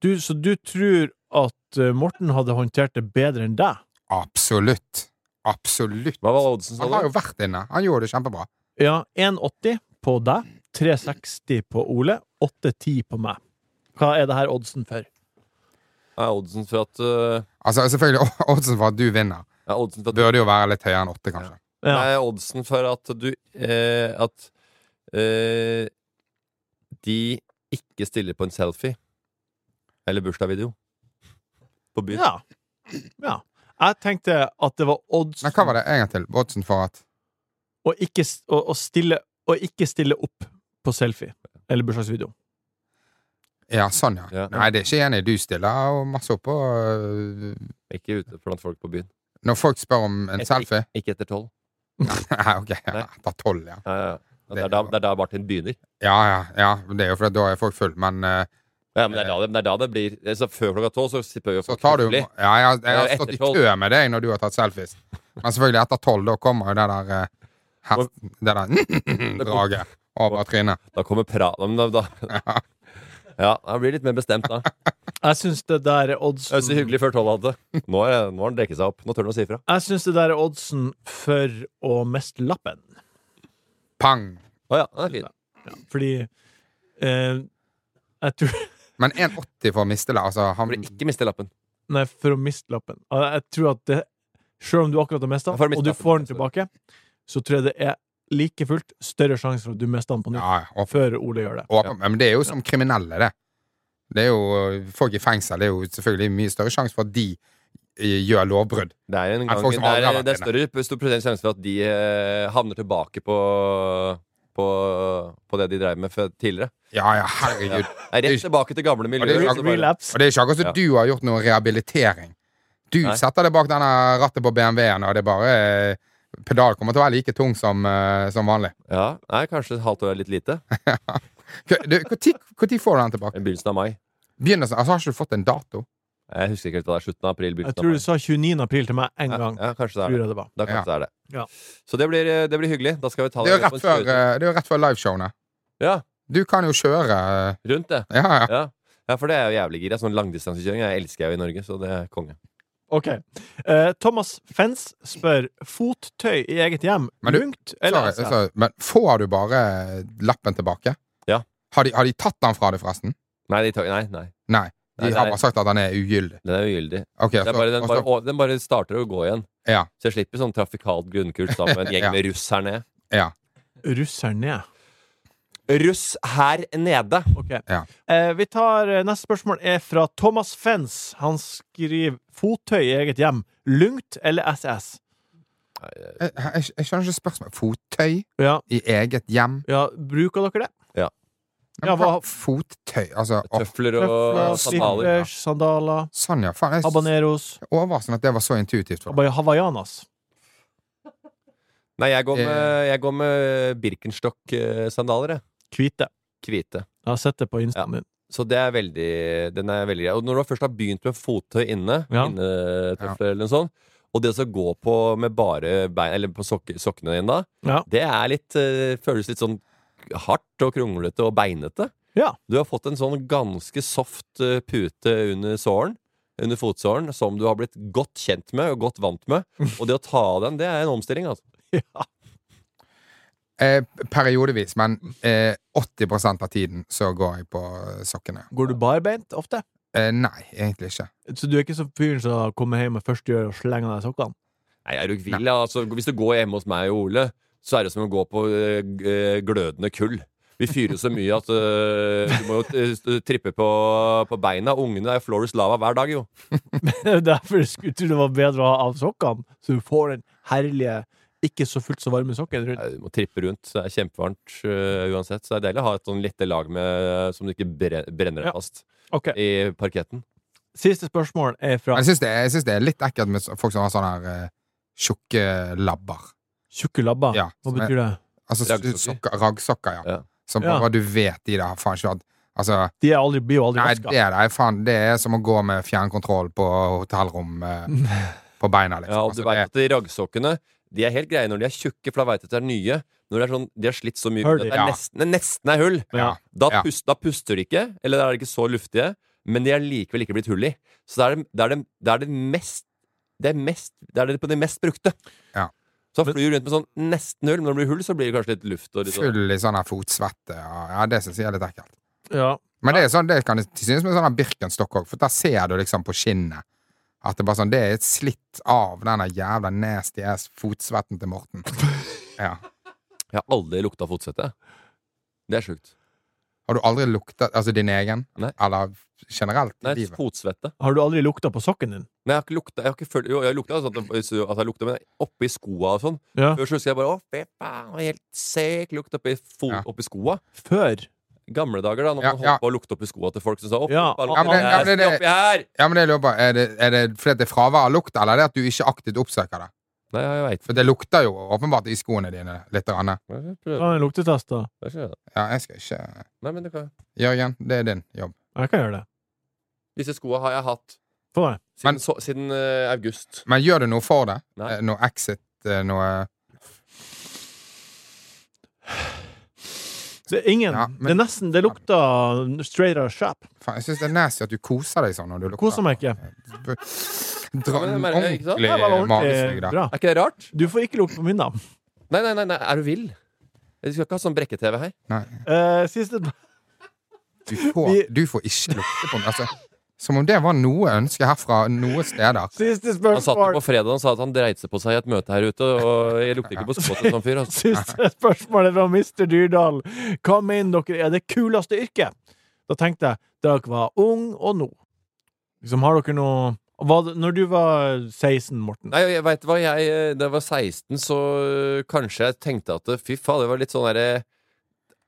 S2: Du, så du tror at eh, Morten hadde håndtert det bedre enn deg?
S4: Absolutt. Absolutt.
S5: Hva var oddsen,
S4: Han har
S5: sa
S4: jo
S5: du?
S4: vært inne. Han gjorde det kjempebra.
S2: Ja, 1,80 på deg, 3,60 på Ole, 8,10 på meg. Hva er det her oddsen for?
S5: Er oddsen for at eh,
S4: Altså, selvfølgelig, o- oddsen for at du vinner,
S5: er oddsen for at,
S4: burde jo være litt høyere enn åtte, kanskje.
S2: Ja.
S5: Nei, oddsen for at du eh, At eh, de ikke stiller på en selfie eller bursdagsvideo på byen.
S2: ja. ja. Jeg tenkte at det var odds
S4: Men hva var det en gang til? Oddsen for at
S2: å ikke, s- å, å stille, å ikke stille opp på selfie eller bursdagsvideo.
S4: Ja, sånn, ja.
S5: Ja.
S4: Nei, det er ikke enig. Du stiller og masse oppå. øh,
S5: Ikke ute blant folk på byen.
S4: Når folk spør om en
S5: Et-
S4: selfie
S5: Ikke etter tolv.
S4: Nei, ok.
S5: Nei.
S4: Ja, etter tolv, ja.
S5: Ja, ja. ja. Det,
S4: Det
S5: er da,
S4: var-
S5: det er da Martin begynner.
S4: Ja, ja. ja. Det er jo fordi da er folk full, men eh,
S5: Ja, men det er da det, det, er da det blir altså, Før klokka tolv så spør jo
S4: så
S5: folk
S4: tar du
S5: høflig.
S4: Ja, jeg, jeg har
S5: Ja,
S4: stått i
S5: etter 12.
S4: kø med deg når du har tatt selfies. Men selvfølgelig, etter tolv, da kommer jo det der eh, her, Det der draget over trynet.
S5: Da kommer pra... Da, da, da. Ja, han blir litt mer bestemt da.
S2: Jeg syns det der er oddsen
S5: Det er så hyggelig før tolv hadde. Nå er det- nå har han drukket seg opp. Nå tør han å si ifra.
S2: Jeg syns det der er oddsen for å miste lappen.
S4: Pang!
S5: Å ja, den er fin.
S2: Fordi eh, Jeg tror
S4: Men 1,80 for å miste det. Altså, han
S5: For å ikke miste lappen.
S2: Nei, for å miste lappen. Og Jeg tror at det Selv om du akkurat har mista
S5: Ja, for å
S2: den,
S5: miste
S2: og du
S5: lappen,
S2: får den
S5: sorry.
S2: tilbake, så tror jeg det er like fullt større sjanse for at du mister den på nytt
S4: Ja, ja.
S2: før Ole gjør det.
S4: Åpen, Men det er jo som kriminelle, det. Det er jo Folk i fengsel det er jo selvfølgelig mye større sjanse for at de eh, gjør lovbrudd.
S5: Det er, en
S4: Er det
S5: gang,
S4: folk
S5: det
S4: som aldri har
S5: er,
S4: vært
S5: det er større stor prosent sjanse for at de eh, havner tilbake på, på, på det de drev med før, tidligere.
S4: Ja, ja, herregud.
S5: Nei,
S4: Det er
S5: rett
S4: ikke-
S5: tilbake til gamle
S4: det er
S5: miljøer.
S4: jo
S5: og så altså, bare-
S2: Relapse.
S4: Og det er ikke akkurat som
S5: Ja.
S4: du har gjort noe rehabilitering. Du
S5: Nei.
S4: setter deg bak denne rattet på BMW-en, og det er bare eh, Pedal kommer til å være like tung som, eh, som vanlig.
S5: ja, nei, kanskje et halvt år er litt lite.
S4: Når får du den
S5: I
S4: tilbake?
S5: begynnelsen av mai.
S4: Begynnelsen, altså Har ikke du fått en dato?
S5: Jeg husker ikke helt hva det er. Slutten av april,
S2: Jeg
S5: begynnelsen av
S2: tror
S5: mai.
S2: du sa 29. april til meg en gang.
S5: Ja, ja, kanskje det
S2: Tror
S5: er det.
S2: jeg det var.
S5: Da kanskje det er det.
S2: Ja.
S5: Så det blir, eh, det blir hyggelig. Da skal vi ta
S4: Det er jo
S5: på
S4: rett
S5: en
S4: før,
S5: kjøretur.
S4: eh, det er jo rett før liveshowene.
S5: Ja,
S4: Du kan jo kjøre eh,
S5: rundt det.
S4: Ja, ja.
S5: Ja. ja, for det er jo jævlig gira. Sånn langdistansekjøring jeg elsker jeg jo i Norge, så det er konge.
S2: Ok. Eh, Thomas Fens spør fottøy i eget hjem
S4: Men du-
S2: lugnt eller
S4: Sorry,
S2: altså?
S4: sorry. Men får du bare lappen tilbake?
S5: Ja.
S4: Har de, har de tatt den fra deg, forresten?
S5: Nei, de tar, nei, nei.
S4: Nei. De
S5: Nei,
S4: har
S5: nei.
S4: bare sagt at den er ugyldig.
S5: den er ugyldig.
S4: Ok,
S5: Det er
S4: så-
S5: bare, den,
S4: og
S5: bare,
S4: så-
S5: å, den bare starter å gå igjen.
S4: Ja.
S5: Så jeg slipper sånn trafikalt grunnkurs sammen med en gjeng
S4: Ja.
S5: med russ her nede.
S4: ja.
S2: Russeren ned.
S5: Russ her nede!
S2: Ok.
S4: Ja.
S2: Eh, vi tar eh, Neste spørsmål er fra Thomas Fens. Han skriver fottøy i eget hjem. Lugnt eller SS?
S4: Jeg, jeg, jeg skjønner ikke spørsmålet. Fottøy
S2: Ja,
S4: i eget hjem?
S2: ja bruker dere det?
S5: Ja.
S4: Men
S2: Ja,
S4: hva,
S2: hva-
S4: fottøy? Altså, å,
S5: Tøfler og
S2: Tøfler,
S5: sandaler.
S2: slippers, sandaler,
S4: sånn, ja. Faen, jeg er
S2: habaneros,
S4: overraskende at det var så intuitivt. For. meg.
S2: abaya- hawaiianas.
S5: Nei, jeg går med,
S4: Eh.
S5: jeg går med Birkenstock-sandaler, jeg.
S2: Hvite.
S5: Hvite.
S2: Jeg har sett det på instaen din.
S5: Så det er veldig, den er veldig grei. Og når du først har begynt med fottøy inne,
S2: Ja.
S5: innetøfler eller noe sånt, og det å så gå på med bare bein, eller på sokke, sokkene dine da,
S2: Ja.
S5: det er litt, eh, føles litt sånn hardt og kronglete og beinete.
S2: Ja.
S5: Du har fått en sånn ganske soft eh, pute under såren, under fotsåren, som du har blitt godt kjent med og godt vant med. Og det å ta av den, det er en omstilling, altså.
S4: Eh, periodevis, men eh, 80 av tiden så går jeg på eh, sokkene.
S2: Går du barbeint ofte?
S4: Eh, nei, egentlig ikke.
S2: Så du er ikke så fyren som kommer hjem med første gjør og slenger av deg sokkene?
S5: Nei, er du vill? Altså, hvis du går hjemme hos meg og Ole, så er det som å gå på eh, g- eh, glødende kull. Vi fyrer så mye at eh, du må jo t- st- trippe på, på beina. Ungene er Florus Lava hver dag, jo.
S2: Det er derfor jeg skulle tro det var bedre å ha av sokkene, så du får den herlige, ikke så fullt så varme sokken rundt.
S5: Nei, Du må trippe rundt. så Det er kjempevarmt eh, uansett. Så det er deilig å ha et sånn lette lag med, eh, som du ikke bre brenner
S2: Ja.
S5: deg fast
S2: Ok,
S5: i parketten.
S2: Siste spørsmål er fra
S4: Men jeg syns det, jeg synes det er litt ekkelt med så- folk som har sånne her eh, tjukke labber.
S2: Tjukke labba.
S4: Ja,
S2: Hva
S4: som er-
S2: betyr det?
S4: Altså
S5: Raggsokker.
S4: raggsokker, sokker, raggsokker ja.
S5: Ja.
S4: Som
S2: Ja.
S4: bare du vet de der har faen ikke hatt Altså,
S2: De er aldri, blir jo aldri
S4: nei,
S2: vaska.
S4: det er, det, faen, det er som å gå med fjernkontroll på hotellrom eh, på beina, liksom.
S5: Ja, og du
S4: Altså,
S5: veit at de raggsokkene de er helt greie når de er tjukke, for da veit du at de er nye. Når de, er sånn, de har slitt så mye
S2: Hull,
S5: at det er
S4: ja.
S5: nesten, det nesten er hull,
S2: Ja.
S5: da,
S4: Ja.
S5: pust, da puster de ikke, eller da er de ikke så luftige, men de er likevel ikke blitt hull i. Så det er det, det, er det, det, er det mest det er, mest, det er det på det mest brukte.
S4: Ja.
S5: Så flyr du rundt med sånn nesten hull, men når det blir hull, så blir det kanskje litt luft. Og litt
S4: det er
S5: sånn.
S4: Full i sånn her fotsvette. Ja, ja det syns jeg er litt ekkelt.
S2: Ja.
S4: Men det, er sånn, det kan jeg synes med sånn her Birkenstock òg, for der ser du liksom på skinnet at det bare sånn Det er et slitt av den der jævla nasty ass fotsvetten til Morten. Ja.
S5: Jeg har aldri lukta fotsvette. Det er sjukt.
S4: Har du aldri lukta Altså din egen?
S5: Nei.
S4: Eller generelt
S5: Nei,
S4: i livet?
S5: fotsvette.
S2: Har du aldri lukta på sokken din?
S5: Nei, jeg har ikke lukta Jeg har ikke følt Jo, jeg lukta sånn at at jeg lukta, men oppi skoa og sånn.
S2: Ja.
S5: Før så husker jeg bare Å, fy faen, det var helt sek lukt oppi, fo-
S4: Ja.
S5: oppi skoa.
S2: Før?
S5: Gamle dager, da, når
S4: Ja,
S5: man
S4: ja.
S5: holdt på å lukte oppi skoa til folk som sa Opp,
S2: Ja,
S5: opp,
S2: ja,
S5: opp,
S2: men det-
S4: ja, men det-
S5: oppi her!
S4: Ja, men det lurer jeg på, Er det, er det fordi det er fravær av lukt, eller er det at du ikke aktivt oppsøker det?
S5: Nei, jeg veit
S4: For det lukter jo åpenbart i skoene dine litt. Grann.
S2: Ta en luktetest, da.
S4: Ja, jeg skal ikke
S5: Nei, men det kan
S4: Jørgen, det er din jobb.
S2: Jeg kan gjøre det.
S5: Disse skoa har jeg hatt
S2: Få meg.
S5: siden,
S4: Men-
S5: så, siden eh, august.
S4: Men gjør du noe for det?
S5: Nei.
S4: Eh, Noe exit, eh, noe
S2: Det er ingen.
S4: Ja, men-
S2: Det er nesten Det lukter straight out of shop.
S4: Faen, jeg syns det er nasty at du koser deg sånn når du lukter.
S2: Koser meg ikke.
S4: B- Dra
S5: Ja,
S4: en
S5: men jeg merker- ikke sant?
S4: ordentlig
S5: Ja,
S2: Det var
S4: magesug,
S2: ordentlig
S4: da.
S2: bra.
S5: Er ikke det rart?
S2: Du får ikke lukte på min, da.
S5: Nei, nei, nei, nei. er du vill? Vi skal ikke ha sånn brekke-TV her.
S4: Nei,
S2: Eh, siste
S4: du får,
S2: Vi-
S4: du får ikke lukte på meg. Altså, som om det var noe ønske herfra noen steder.
S2: Siste
S5: Han satt jo
S2: spørsmål.
S5: på fredag og sa at han dreit seg på seg i et møte her ute, og jeg lukter ikke på skoa til en sånn fyr. Altså.
S2: Siste spørsmålet fra Mr. Dyrdal. Hva mener dere er det kuleste yrket? Da tenkte jeg dere var ung og nå. Liksom, har dere noe hva, Når du var 16, Morten
S5: Nei, jeg vet hva, jeg eh, Da jeg var 16, så eh, kanskje jeg tenkte at eh, fy faen, det var litt sånn derre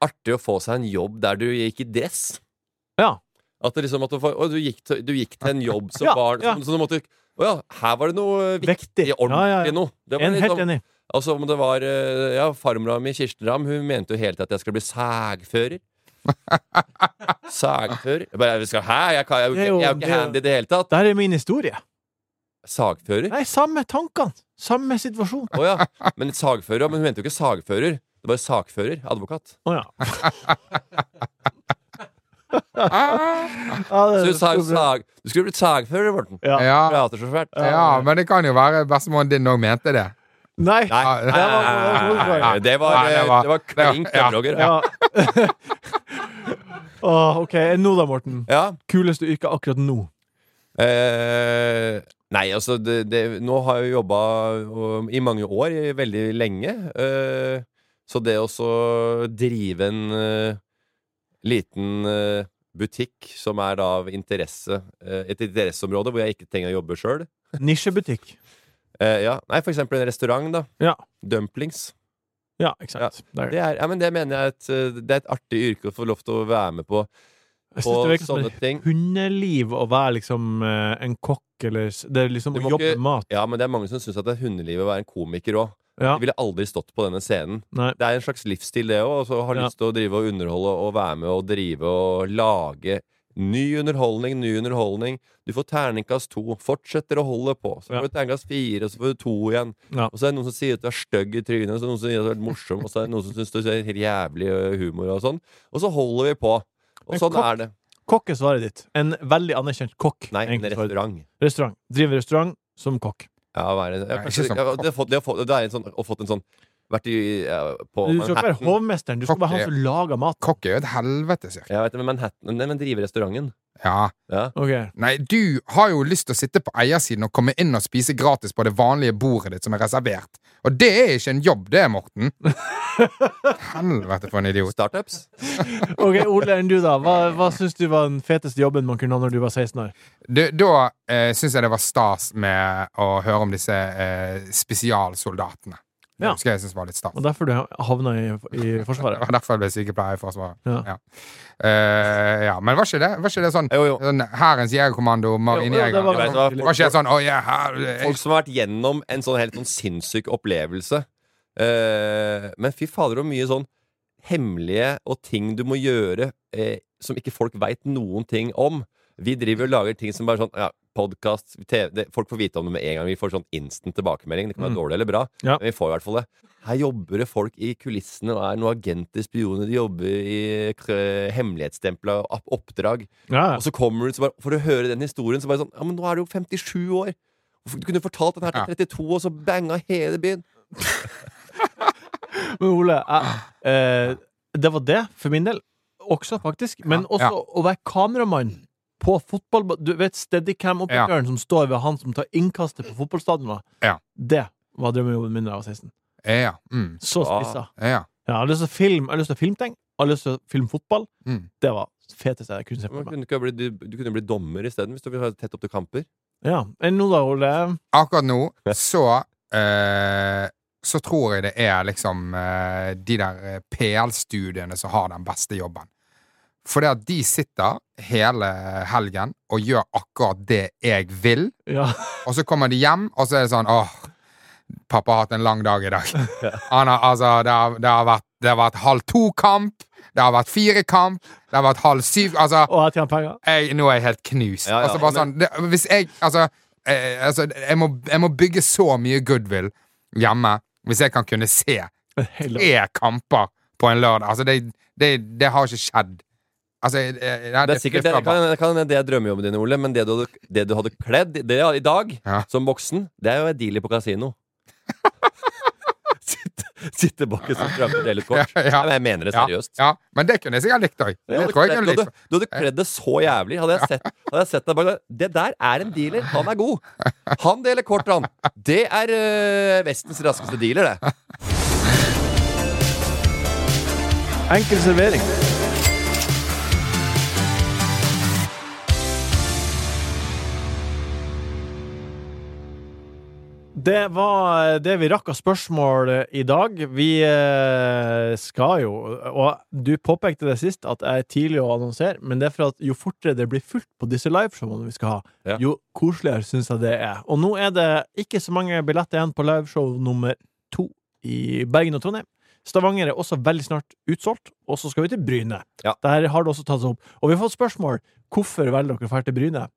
S5: Artig å få seg en jobb der du gikk i dress.
S2: Ja.
S5: At det liksom at du, får- å, du, gikk til, du gikk til en jobb som
S2: Ja,
S5: barn,
S2: ja.
S5: så, så du måtte Å ja, her var det noe eh, viktig,
S2: Viktig. Ja,
S5: ordentlig
S2: ja, ja.
S5: noe. Det var
S2: En,
S5: litt
S2: helt
S5: sånn-
S2: enig.
S5: Altså om det var eh, Ja, farmora mi, Kirsten Ramm, hun mente jo hele tiden at jeg skal bli sagfører. sagfører? Jeg bare, jeg skal, Hæ? Jeg, kan, jeg, er jo
S2: Det er
S5: ikke-
S2: jo-
S5: jeg er jo
S2: det
S5: ikke
S2: er jo-
S5: handy i det hele tatt.
S2: Der er min historie.
S5: Sagfører?
S2: Nei, samme tankene. Samme situasjon.
S5: Å ja. Men sagfører, ja, men hun mente jo ikke sagfører. Det var jo sakfører. Advokat.
S2: Å ja.
S5: Ah. Ah. Så
S2: ja
S5: hun sa jo
S2: bra.
S5: sag... Du skulle blitt sagfører, Morten.
S2: Ja.
S4: Ja,
S5: Prater så fælt.
S4: ja, men det kan jo være bestemoren din òg mente det.
S2: Nei.
S5: Nei.
S4: Ja,
S5: Nei, nei, det var,
S4: Nei, det
S5: eh, det
S4: var-
S5: var
S4: det var-
S5: klink,
S4: ja.
S5: det, Roger. Ja.
S2: Ja. Åh, OK. Nå da, Morten.
S5: ja.
S2: Kuleste yrke akkurat nå?
S5: Eh, nei, altså det, det, Nå har jeg jo jobba um, i mange år, i veldig lenge. Eh, så det å så drive en eh, liten eh, butikk som er da av interesse eh, Et interesseområde hvor jeg ikke trenger å jobbe sjøl.
S2: Nisjebutikk.
S5: Eh, ja. Nei, for eksempel en restaurant, da.
S2: Ja.
S5: Dumplings.
S2: Ja, ikke sant. Der.
S5: Det er, ja, men det mener jeg er et, eh, det er et artig yrke å få lov til å være med på,
S2: Jeg
S5: på
S2: synes det virker som
S5: sånne
S2: et
S5: ting.
S2: hundeliv å være liksom eh, en kokk eller s- Det er liksom
S5: Du
S2: å
S5: må
S2: jobbe
S5: ikke-
S2: med mat.
S5: Ja, men det er mange som syns at det er hundelivet å være en komiker òg.
S2: Ja.
S5: De ville aldri stått på denne scenen.
S2: Nei.
S5: Det er en slags livsstil, det òg. Og har
S2: Ja.
S5: lyst til å drive og underholde og være med og drive og lage ny underholdning, ny underholdning. Du får terningkast to. Fortsetter å holde på. Så
S2: Ja.
S5: får du terningkast fire, og så får du to igjen.
S2: Ja.
S5: Og så er det noen som sier at du er stygg i trynet, og så er det noen som sier at du er morsom, og så er det noen som syns du ser helt jævlig ø, humor og sånn. Og så holder vi på. Og
S2: Men
S5: sånn
S2: kokk-
S5: er det.
S2: Kokk er svaret ditt. En veldig anerkjent kokk.
S5: Nei,
S2: er egentlig
S5: en
S2: svaret ditt.
S5: restaurant.
S2: restaurant. Driver restaurant som kokk.
S5: Ja, være, ja,
S4: Nei,
S5: kanskje,
S4: ikke sånn
S5: ja, det har fått, det har fått, det er en sånn, og fått en sånn Vært i ja, på
S2: Du skal ikke være
S5: Manhattan.
S2: hovmesteren, du skal
S4: Kokk
S2: være han
S4: er-
S2: som lager mat.
S4: Kokk er jo et helvete, cirka.
S5: Jeg vet det, men Manhattan Nei, men drive restauranten.
S4: Ja.
S5: Ja.
S2: Ok,
S4: Nei, du har jo lyst til å sitte på eiersiden og komme inn og spise gratis på det vanlige bordet ditt som er reservert. Og det er ikke en jobb, det, Morten. Helvete, for en idiot.
S5: Startups.
S2: Ok, Ole, enn du da? Hva, hva syns du var den feteste jobben man kunne ha når du var 16 år?
S4: Du, da eh, syns jeg det var stas med å høre om disse eh, spesialsoldatene. Det
S2: Ja.
S4: husker jeg synes var litt stas.
S2: Og derfor du havna i, i
S4: Det
S2: Forsvaret?
S4: var derfor jeg ble sykepleier i Forsvaret.
S2: Ja.
S4: Ja. Eh, ja, men var ikke det, var ikke det sånn,
S5: Jo, jo.
S4: sånn Hærens jegerkommando,
S2: Jo, jo,
S4: marinejeger
S2: det var-
S5: Jeg vet hva,
S4: Var ikke det sånn oh, yeah, her,
S5: Folk som har vært gjennom en sånn helt sånn sinnssyk opplevelse. Eh, men fy fader, hvor mye sånn hemmelige og ting du må gjøre eh, som ikke folk veit noen ting om. Vi driver og lager ting som bare sånn ja, Podkast, TV det, Folk får vite om det med en gang. Vi får sånn instant tilbakemelding. Det kan være
S2: Mm.
S5: dårlig eller bra,
S2: Ja.
S5: men vi får i hvert fall det. Her jobber det folk i kulissene og er noen agenter, spioner. De jobber i k- hemmelighetstempla opp- oppdrag.
S2: Ja,
S5: Og så kommer du så bare, For å høre den historien, så bare sånn Ja, men nå er du jo 57 år. Hvorfor- Du kunne fortalt den her til 32, og så banga hele byen.
S2: Men Ole, jeg, eh, det var det for min del. Også, faktisk. Men
S4: Ja,
S2: også å være kameramann på fotball... Du vet Steadicam-operatøren som står ved han som tar innkastet på fotballstadionet?
S4: Ja.
S2: Det var drømmejobben min da jeg var 16.
S4: Ja. Mm,
S2: Så
S5: Ja.
S2: spissa.
S4: ja.
S2: Ja, jeg har lyst til å film, jeg har lyst til å filmting. Jeg har lyst til å filme fotball.
S4: Mm.
S2: Det var det feteste jeg kunne se
S5: Men
S2: for meg.
S5: kunne ikke ha blitt- Du, du kunne jo bli dommer isteden, hvis du ville ha tett opp til kamper.
S2: Ja. Enn nå, da, Ole?
S4: Akkurat nå så eh, Så tror jeg det er liksom eh, de der eh, PL-studiene som har den beste jobben. For det at de sitter hele helgen og gjør akkurat det jeg vil,
S2: Ja.
S4: og så kommer de hjem, og så er det sånn åh, pappa har hatt en lang dag i dag. Han har, altså, det har, det har vært, det har vært halv to-kamp, det har vært fire-kamp, det har vært halv syv altså,
S2: Og jeg tjener penger?
S4: jeg, nå er jeg helt knust.
S5: Ja, ja,
S4: altså, bare
S5: men-
S4: sånn, det, hvis jeg Altså, eh, altså jeg, må, jeg må bygge så mye goodwill hjemme hvis jeg kan kunne se
S2: Hele.
S4: tre kamper på en lørdag. Altså, det, det, det har ikke skjedd. Altså, jeg- jeg- jeg-
S5: Det er sikkert det, det kan, det kan hende det er drømmejobben din, Ole, men det du, hadde- det du hadde kledd i- det, i dag,
S4: Ja.
S5: som voksen, det er jo en dealer på kasino. Sitte- Sitte bak et sånt framfor dele ut kort.
S4: Ja, ja.
S5: Nei, men Jeg mener det
S4: Ja,
S5: seriøst.
S4: ja, men det kunne jeg sikkert likt òg.
S5: Du
S4: Det
S5: hadde
S4: tror jeg
S5: kledd-
S4: jeg kunne
S5: du,
S4: likt.
S5: hadde, du hadde kledd det så jævlig. Hadde jeg sett, hadde jeg sett deg bare Det der er en dealer. Han er god. Han deler kort, han. Det er øh, Vestens raskeste dealer, det.
S2: Enkel servering. Det var det vi rakk av spørsmål i dag. Vi eh, skal jo Og du påpekte det sist, at jeg er tidlig å annonsere, men det er for at jo fortere det blir fullt på disse liveshowene vi skal ha,
S5: Ja.
S2: jo koseligere syns jeg det er. Og nå er det ikke så mange billetter igjen på liveshow nummer to i Bergen og Trondheim. Stavanger er også veldig snart utsolgt, og så skal vi til Bryne.
S5: Ja.
S2: Der har det også tatt seg opp. Og vi har fått spørsmål. Hvorfor velger dere å dra til Bryne?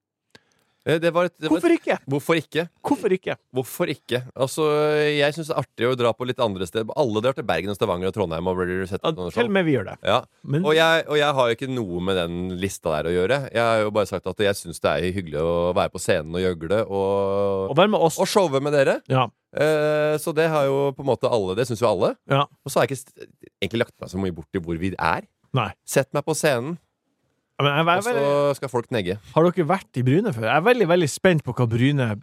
S5: Eh, det, var et, det var et,
S2: Hvorfor ikke?
S5: hvorfor ikke?
S2: Hvorfor ikke?
S5: Hvorfor ikke? Altså, Jeg syns det er artig å dra på litt andre steder. Alle drar til Bergen og Stavanger og Trondheim. Og blir sett
S2: Ja,
S5: på noe
S2: til og
S5: sånt.
S2: med vi gjør det.
S5: ja.
S2: Men
S5: Sånn og, jeg, og jeg har jo ikke noe med den lista der å gjøre. Jeg har jo bare sagt at jeg syns det er hyggelig å være på scenen og gjøgle
S2: å
S5: og,
S2: være med oss
S5: og showe med dere.
S2: Ja.
S5: Eh, så det har jo på en måte alle. Det syns jo alle.
S2: Ja.
S5: Og så har jeg ikke st- egentlig lagt meg så mye bort i hvor vi er.
S2: Nei.
S5: Sett meg på scenen,
S2: Men jeg,
S5: og
S2: er
S5: så
S2: veldig,
S5: skal folk negge.
S2: har dere vært i Bryne før? Jeg er veldig veldig spent på hva Bryne er.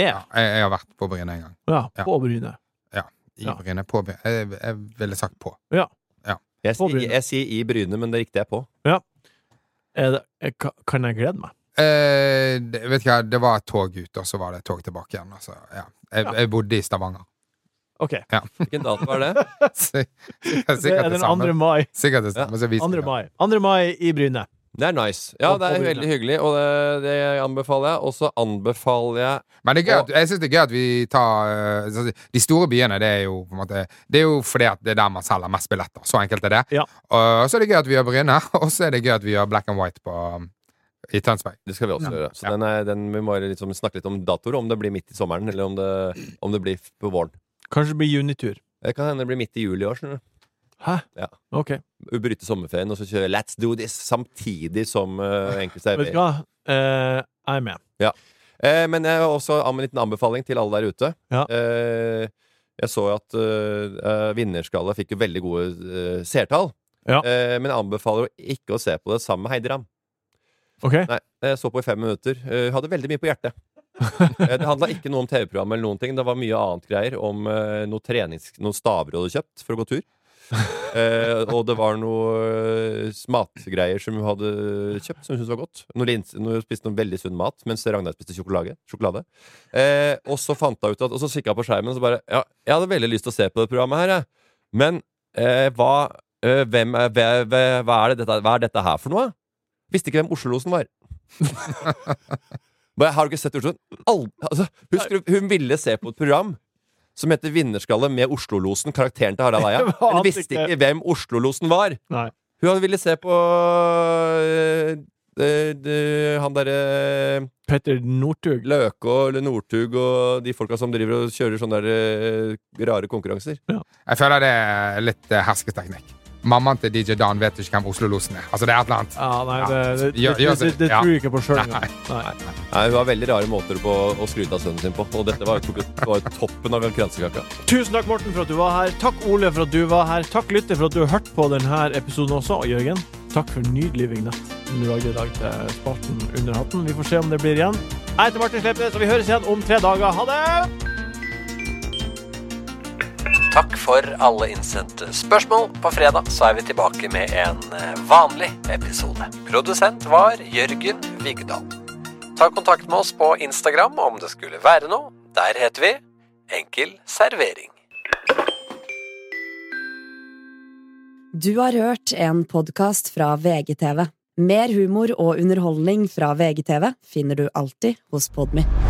S4: Jeg, jeg har vært på Bryne en gang.
S2: Ja,
S4: Ja.
S2: På Bryne.
S4: I
S2: Ja.
S4: Bryne, på Bryne. Jeg, jeg ville sagt på.
S5: Jeg,
S2: På
S5: sier-
S2: Bryne.
S5: jeg sier i Bryne, men det riktig er på.
S2: Er det, er- ka- kan jeg glede meg?
S4: Eh, det, vet ikke, hva, det var et tog ut, og så var det et tog tilbake igjen. Altså, ja. jeg,
S2: Ja.
S4: jeg bodde i Stavanger.
S2: OK.
S5: Hvilken dato er det?
S4: Så-
S2: Det er
S4: Sikkert det
S2: den 2.
S4: samme.
S2: mai.
S4: Sikkert det samme som vi
S2: 2.
S4: sier.
S2: mai. 2. mai i Bryne.
S5: Det er nice. Ja,
S2: Og
S5: det
S2: på
S5: er
S2: Bryne.
S5: veldig hyggelig, og det, det anbefaler jeg. Og så anbefaler jeg
S4: Men det er gøy at,
S5: Og-
S4: jeg syns det er gøy at vi tar eh, så å si, De store byene, det er jo på en måte Det er jo fordi at det er der man selger mest billetter. Så enkelt er det.
S2: Ja.
S4: Og så er det gøy at vi gjør Bryne, og så er det gøy at vi gjør Black and White på, um, i Tønsberg.
S5: Det skal vi også gjøre. Så
S4: Ja.
S5: den er, den, vi må bare liksom snakke litt om datoer, om det blir midt i sommeren, eller om det, om det blir på våren.
S2: Kanskje det blir junitur.
S5: Det kan hende det blir midt i juli i år. skjønner du.
S2: Hæ?
S5: Ja.
S2: OK.
S5: Bryte sommerferien og så kjøre Let's do this samtidig som uh, enkelte
S2: Vet du hva? Eh, jeg er med.
S5: Eh, men jeg har også an- en liten anbefaling til alle der ute.
S2: Ja.
S5: Eh, jeg så jo at eh, eh, Vinnerskala fikk jo veldig gode eh, seertall.
S2: Ja.
S5: Eh, men jeg anbefaler jo ikke å se på det sammen med Heidi Ram.
S2: OK?
S5: Nei, jeg så på i fem minutter. Eh, hadde veldig mye på hjertet. Eh, det handla ikke noe om TV-program, eller noen ting det var mye annet greier. Om eh, noe trenings, noen staver du hadde kjøpt for å gå tur. Eh, og det var noe eh, matgreier som hun hadde kjøpt som hun syntes var godt. Noe lins, noe, hun spiste noe veldig sunn mat, mens Ragnar spiste sjokolade. sjokolade. Eh, og så fant hun ut at Og så kikka jeg på skjermen og så bare Ja, jeg hadde veldig lyst til å se på det programmet her, jeg. Men eh, hva, eh, hvem, er- hva, hva, hva, er det dette, hva er dette her for noe? Visste ikke hvem Oslo-losen var. Bare, har du ikke sett Oslo? Al- altså, husker du, hun ville se på et program som heter Vinnerskalle med Oslo-losen, karakteren til Harald Eia.
S2: Jeg ante
S5: Hun visste
S2: ikke.
S5: ikke hvem Oslo-losen var.
S2: Nei.
S5: Hun hadde ville se på øh, øh, øh, han derre
S2: Petter Northug.
S5: Løke og Northug og de folka som driver og kjører sånne der, øh, rare konkurranser.
S4: Jeg føler det er litt eh, hersketeknikk. Mammaen til DJ Dan vet ikke hvem Oslo-losen er. Altså, det er et eller annet.
S2: Ja, nei, det,
S4: Ja.
S2: det, det,
S4: Gjør-
S2: det,
S4: gjør
S2: det,
S4: seg-
S2: det
S4: ja.
S2: tror jeg ikke på sjøl
S4: Nei.
S2: engang. Nei.
S5: Nei, Hun har veldig rare måter på å skryte av sønnen sin på, og dette var jo tok- var jo toppen av kransekaka.
S2: Tusen takk, Morten, for at du var her. Takk, Ole, for at du var her. Takk, lytter, for at du har hørt på denne episoden også. Og Jørgen, takk for nydelig vignett du lagde i dag til spalten Under hatten. Vi får se om det blir igjen. Jeg heter Martin Slepnes, og vi høres igjen om tre dager. Ha det!
S6: Takk for alle innsendte spørsmål. På fredag så er vi tilbake med en eh, vanlig episode. Produsent var Jørgen Vigdal.
S7: Ta kontakt med oss på Instagram om det skulle være noe. Der heter vi Enkel servering.
S8: Du har hørt en podkast fra VGTV. Mer humor og underholdning fra VGTV finner du alltid hos Podmy.